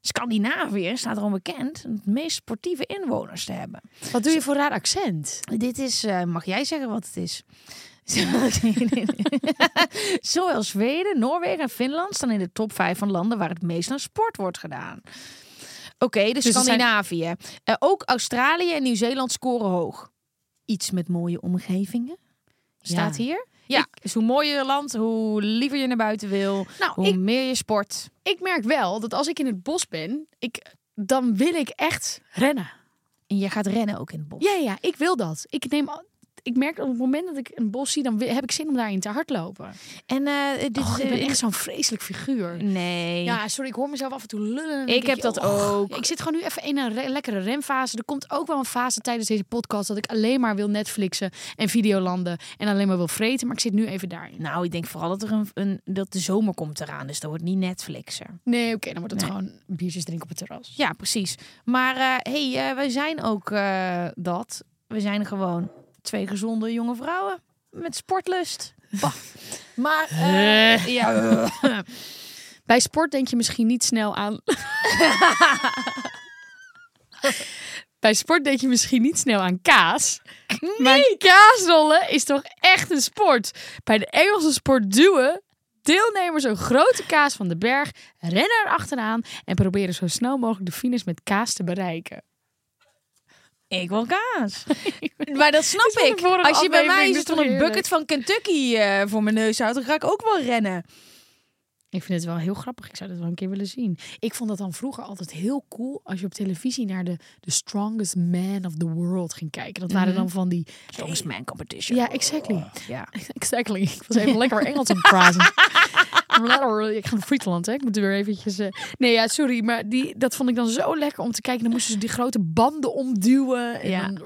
B: Scandinavië staat erom bekend het meest sportieve inwoners te hebben.
C: Wat doe je voor raar accent?
B: Dit is, eh, mag jij zeggen wat het is? Zowel Zweden, Noorwegen en Finland staan in de top 5 van landen waar het meest aan sport wordt gedaan. Oké, dus,
C: het zijn-
B: Scandinavië. Eh, ook Australië en Nieuw-Zeeland scoren hoog. Iets met mooie omgevingen staat
C: Ja.
B: hier. Ja, dus hoe mooier je land, hoe liever je naar buiten wil,
C: Nou,
B: hoe
C: ik-
B: meer je sport.
C: Ik merk wel dat als ik in het bos ben, ik, dan wil ik echt rennen.
B: En je gaat rennen ook in het bos.
C: Ja, ja, ik wil dat. Ik neem. al- Ik merk op het moment dat ik een bos zie, dan wi- heb ik zin om daarin te hardlopen.
B: En eh, dit
C: Oh,
B: is
C: ik ben
B: eh,
C: echt zo'n vreselijk figuur.
B: Nee.
C: Ja, sorry, ik hoor mezelf af en toe lullen. en dan
B: Ik
C: denk
B: heb dat
C: "Och."
B: ook.
C: Ik zit gewoon nu even in een re- lekkere remfase. Er komt ook wel een fase tijdens deze podcast dat ik alleen maar wil Netflixen en videolanden en alleen maar wil vreten. Maar ik zit nu even daarin.
B: Nou, ik denk vooral dat, er een, een, dat de zomer komt eraan. Dus dat wordt niet Netflixer.
C: Nee, oké, dan wordt het gewoon biertjes drinken op het terras.
B: Ja, precies. Maar eh, hey, eh, wij zijn ook eh, dat. We zijn gewoon twee gezonde jonge vrouwen. Met sportlust. Bah. Maar eh, ja.
C: Bij sport denk je misschien niet snel aan. Bij sport denk je misschien niet snel aan kaas. Maar kaasrollen is toch echt een sport. Bij de Engelse sport duwen deelnemers een grote kaas van de berg, rennen er achteraan en proberen zo snel mogelijk de finish met kaas te bereiken.
B: Ik wil kaas. maar dat snap
C: van de
B: ik.
C: vorige
B: Als je bij mij
C: aflevering,
B: zit
C: dus
B: van een
C: heerlijk.
B: bucket van Kentucky eh, voor mijn neus houdt, dan ga ik ook wel rennen.
C: Ik vind het wel heel grappig. Ik zou dat wel een keer willen zien. Ik vond dat dan vroeger altijd heel cool als je op televisie naar de, de Strongest Man of the World ging kijken. Dat waren dan van die.
B: Strongest man competition.
C: Ja, exactly.
B: Ja.
C: Exactly. Ik was even lekker Engels aan het praten. Literally. Ik ga naar Friesland, hè. Ik moet er weer eventjes... eh, Nee, ja, sorry. Maar die, dat vond ik dan zo lekker om te kijken. Dan moesten ze die grote banden omduwen. En
B: Ja.
C: dan-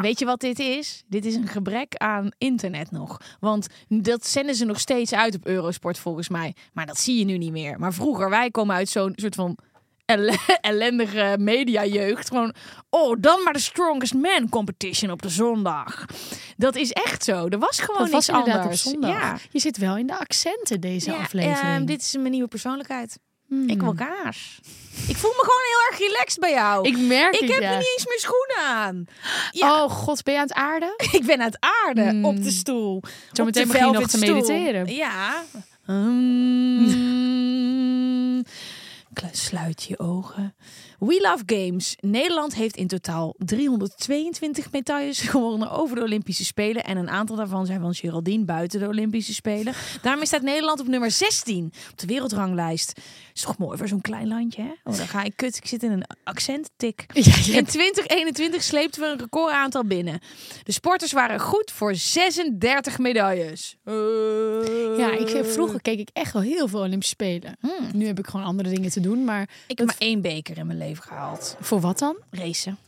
B: Weet je wat dit is? Dit is een gebrek aan internet nog. Want dat zenden ze nog steeds uit op Eurosport volgens mij. Maar dat zie je nu niet meer. Maar vroeger, wij komen uit zo'n soort van elle- ellendige mediajeugd. Gewoon, oh, dan maar de Strongest Man competition op de zondag. Dat was echt zo. Er was gewoon
C: Oh, dat was
B: niks Oh, anders.
C: inderdaad op zondag.
B: Ja.
C: Je zit wel in de accenten deze
B: Ja,
C: aflevering.
B: ehm, dit is mijn nieuwe persoonlijkheid.
C: Hmm.
B: Ik wil kaas. Ik voel me gewoon heel erg relaxed bij jou.
C: Ik merk
B: Ik
C: het,
B: heb
C: ja.
B: nu niet eens meer schoenen aan. Ja.
C: Oh god, ben je aan het aarden?
B: Ik ben aan het aarde op de stoel. Zo
C: Hmm. meteen begin je nog te mediteren.
B: Ja. Hmm. Kle- Sluit je ogen. We Love Games. Nederland heeft in totaal 322 medailles gewonnen over de Olympische Spelen. En een aantal daarvan zijn van Geraldine buiten de Olympische Spelen. Daarmee staat Nederland op nummer 16 op de wereldranglijst. Is toch mooi voor zo'n klein landje, hè? Oh, dan ga ik kut. Ik zit in een accenttik. In 2021 sleepten we een recordaantal binnen. De sporters waren goed voor 36 medailles. Eh,
C: Ja, ik, vroeger keek ik echt wel heel veel Olympische Spelen.
B: Hmm.
C: Nu heb ik gewoon andere dingen te doen. Maar
B: Ik heb maar één beker in mijn leven gehaald.
C: voor wat dan?
B: Racen.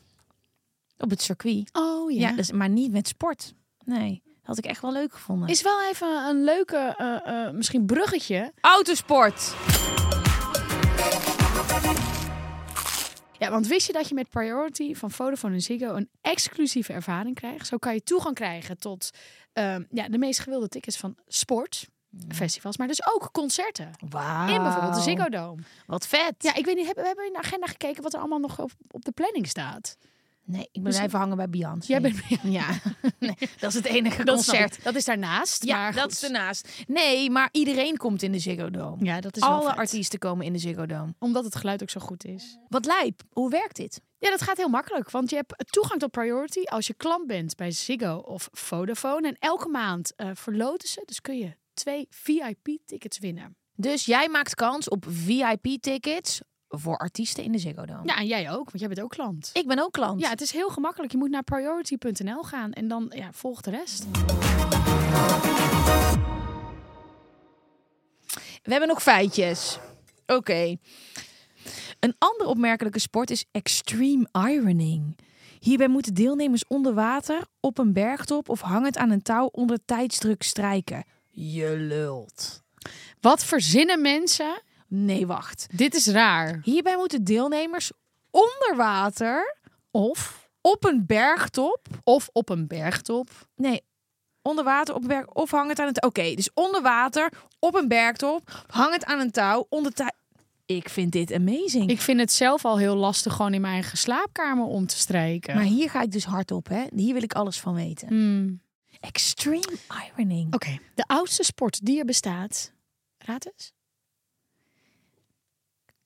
B: Op het circuit.
C: Oh
B: Ja, dus, maar niet met sport. Nee, dat had ik echt wel leuk gevonden.
C: Is wel even een leuke, eh, eh, misschien bruggetje.
B: autosport.
C: Ja, want wist je dat je met Priority van Vodafone en Ziggo een exclusieve ervaring krijgt? Zo kan je toegang krijgen tot ehm, ja, de meest gewilde tickets van sport, festivals, maar dus ook concerten.
B: Wauw.
C: In bijvoorbeeld de Ziggo Dome.
B: Wat vet.
C: Ja, ik weet niet, hebben, we hebben in de agenda gekeken wat er allemaal nog op, op de planning staat.
B: Nee, ik ben
C: Dus-
B: even hangen bij Beyoncé.
C: Jij bent
B: Ja, nee, dat is het enige
C: dat snap
B: concert.
C: ik. Dat is daarnaast.
B: Ja,
C: maar
B: dat
C: goed.
B: is ernaast. Nee, maar iedereen komt in de Ziggo Dome.
C: Ja, dat is wel
B: Alle
C: vet.
B: artiesten komen in de Ziggo Dome.
C: Omdat het geluid ook zo goed is.
B: Wat lijp. Hoe werkt dit?
C: Ja, dat gaat heel makkelijk, want je hebt toegang tot Priority als je klant bent bij Ziggo of Vodafone. En elke maand eh, verloten ze, dus kun je twee VIP-tickets winnen.
B: Dus jij maakt kans op VIP-tickets voor artiesten in de Ziggo Dome.
C: Ja, en jij ook, want jij bent ook klant.
B: Ik ben ook klant.
C: Ja, het is heel gemakkelijk. Je moet naar priority.nl gaan en dan ja, volg de rest.
B: We hebben nog feitjes. Oké. Een ander opmerkelijke sport is extreme ironing. Hierbij moeten deelnemers onder water, op een bergtop of hangend aan een touw onder tijdsdruk strijken. Je lult.
C: Wat verzinnen mensen?
B: Nee, wacht.
C: Dit is raar.
B: Hierbij moeten deelnemers onder water,
C: Of,
B: op een bergtop.
C: of op een bergtop.
B: Nee, onder water, op een berg of hangend aan een touw. Oké, dus onder water, op een bergtop, hangend aan een touw, onder tij. Ik vind dit amazing.
C: Ik vind het zelf al heel lastig gewoon in mijn eigen slaapkamer om te strijken.
B: Maar hier ga ik dus hard op, hè? Hier wil ik alles van weten.
C: Hmm. Oh,
B: Extreme ironing.
C: Oké, de oudste sport die er bestaat. Raad eens.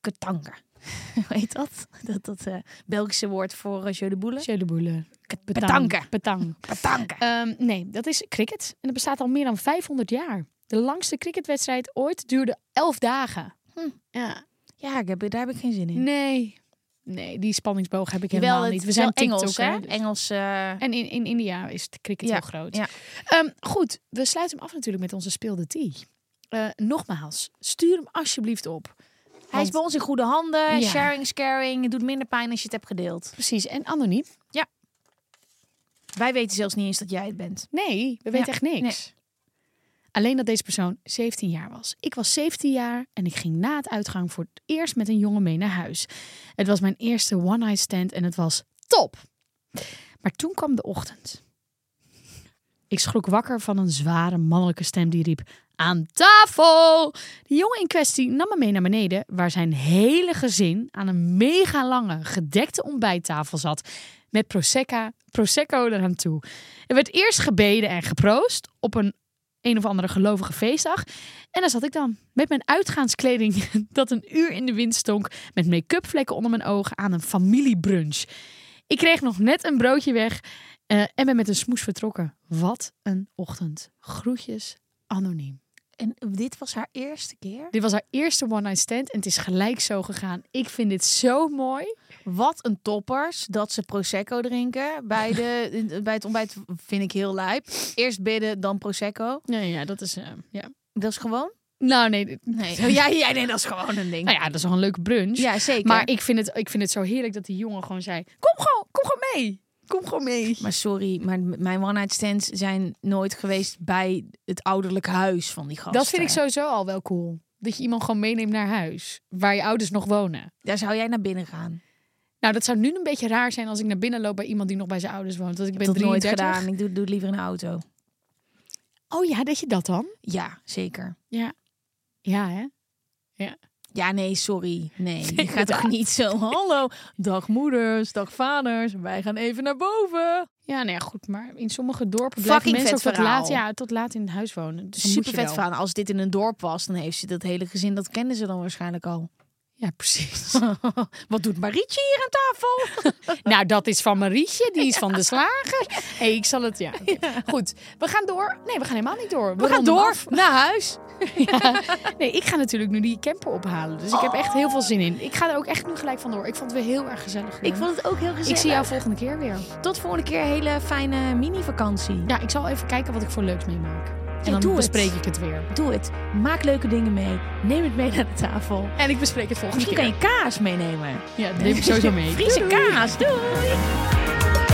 B: Katanga. Hoe heet dat? Dat, dat eh, Belgische woord voor eh, jeu de boule.
C: Jeu de boule.
B: Petanken.
C: Petang.
B: Katanga.
C: Ehm, nee, dat is cricket. En dat bestaat al meer dan 500 jaar. De langste cricketwedstrijd ooit duurde 11 dagen. Ja.
B: Hm, Ja, ik heb, daar heb ik geen zin in.
C: Nee. Nee, die spanningsboog heb ik
B: Jawel,
C: helemaal
B: het
C: niet. We
B: is
C: zijn
B: wel
C: TikTok,
B: Engels,
C: hè?
B: hè?
C: dus-
B: Engels. eh,
C: En in, in India is het cricket
B: Ja,
C: heel groot.
B: ja.
C: Ehm, goed, we sluiten hem af natuurlijk met onze speelde tea. Eh, nogmaals, stuur hem alsjeblieft op.
B: Hij is bij ons in goede handen.
C: Ja.
B: Sharing is caring. Het doet minder pijn als je het hebt gedeeld.
C: Precies, en anoniem.
B: Wij weten zelfs niet eens dat jij het bent.
C: Nee, we weten echt niks. Alleen dat deze persoon 17 jaar was. Ik was 17 jaar en ik ging na het uitgang voor het eerst met een jongen mee naar huis. Het was mijn eerste one-night stand en het was top. Maar toen kwam de ochtend. Ik schrok wakker van een zware mannelijke stem die riep: Aan tafel! De jongen in kwestie nam me mee naar beneden, waar zijn hele gezin aan een mega lange, gedekte ontbijttafel zat. Met Prosecca, Prosecco eraan toe. Er werd eerst gebeden en geproost op een een of andere gelovige feestdag. En daar zat ik dan, met mijn uitgaanskleding dat een uur in de wind stonk, met make-up vlekken onder mijn ogen aan een familiebrunch. Ik kreeg nog net een broodje weg eh, en ben met een smoes vertrokken. Wat een ochtend. Groetjes, anoniem.
B: En dit was haar eerste keer.
C: Dit was haar eerste one-night stand en het is gelijk zo gegaan. Ik vind dit zo mooi.
B: Wat een toppers dat ze Prosecco drinken. Bij, de, bij het ontbijt vind ik heel lijp. Eerst bidden, dan Prosecco.
C: Nee, ja, dat is... eh, ja.
B: Dat is gewoon?
C: Nou, nee. dit-
B: Nee. Oh, ja, ja, nee, dat is gewoon een ding.
C: Nou ja, dat is wel een leuke brunch.
B: Ja, zeker.
C: Maar ik eh, vind, het, ik vind het zo heerlijk dat die jongen gewoon zei... Kom gewoon, kom gewoon mee. Kom gewoon mee.
B: Maar sorry, maar m- mijn one-night stands zijn nooit geweest bij het ouderlijk huis van die gasten.
C: Dat vind ik sowieso al wel cool. Dat je iemand gewoon meeneemt naar huis. Waar je ouders nog wonen.
B: Daar zou jij naar binnen gaan.
C: Nou, dat zou nu een beetje raar zijn als ik naar binnen loop bij iemand die nog bij zijn ouders woont. Want ik
B: Ik
C: ben
B: heb dat nooit
C: 33.
B: gedaan. Ik doe, doe het liever in de auto.
C: Oh ja, dat je dat dan?
B: Ja, zeker.
C: Ja, hè?
B: Ja, nee, sorry. Nee, je gaat
C: inderdaad.
B: toch niet zo. Hallo, dag moeders, dag vaders. Wij gaan even naar boven.
C: Ja, nee, goed. Maar in sommige dorpen blijven
B: Fucking
C: mensen
B: vet
C: ook tot laat,
B: verhaal.
C: ja, tot laat in het huis wonen. Dus dan moet
B: Super
C: je
B: vet
C: wel.
B: verhaal. Als dit in een dorp was, dan heeft ze dat hele gezin. Dat kennen ze dan waarschijnlijk al.
C: Ja, precies.
B: Wat doet Marietje hier aan tafel?
C: nou, dat is van Marietje. Die is van de slager. hey, ik zal het... Ja. oké. Goed, we gaan door. Nee, we gaan helemaal niet door. We,
B: We gaan
C: ronden
B: door
C: af.
B: naar huis.
C: Nee, ik ga natuurlijk nu die camper ophalen. Dus ik heb echt heel veel zin in. Ik ga er ook echt nu gelijk vandoor. Ik vond het weer heel erg gezellig.
B: Ik
C: Jorn.
B: vond het ook heel gezellig.
C: ik zie jou volgende keer weer.
B: Tot volgende keer. Hele fijne mini-vakantie.
C: Ja, ik zal even kijken wat ik voor leuks meemaak. En
B: Ja,
C: dan
B: doe het.
C: bespreek ik het weer.
B: Doe het. Maak leuke dingen mee. Neem het mee naar de tafel.
C: En ik bespreek het volgende
B: Misschien
C: keer.
B: kan je kaas meenemen.
C: Ja, dat neem ik sowieso mee.
B: Friese
C: Doei, doei.
B: kaas. Doei.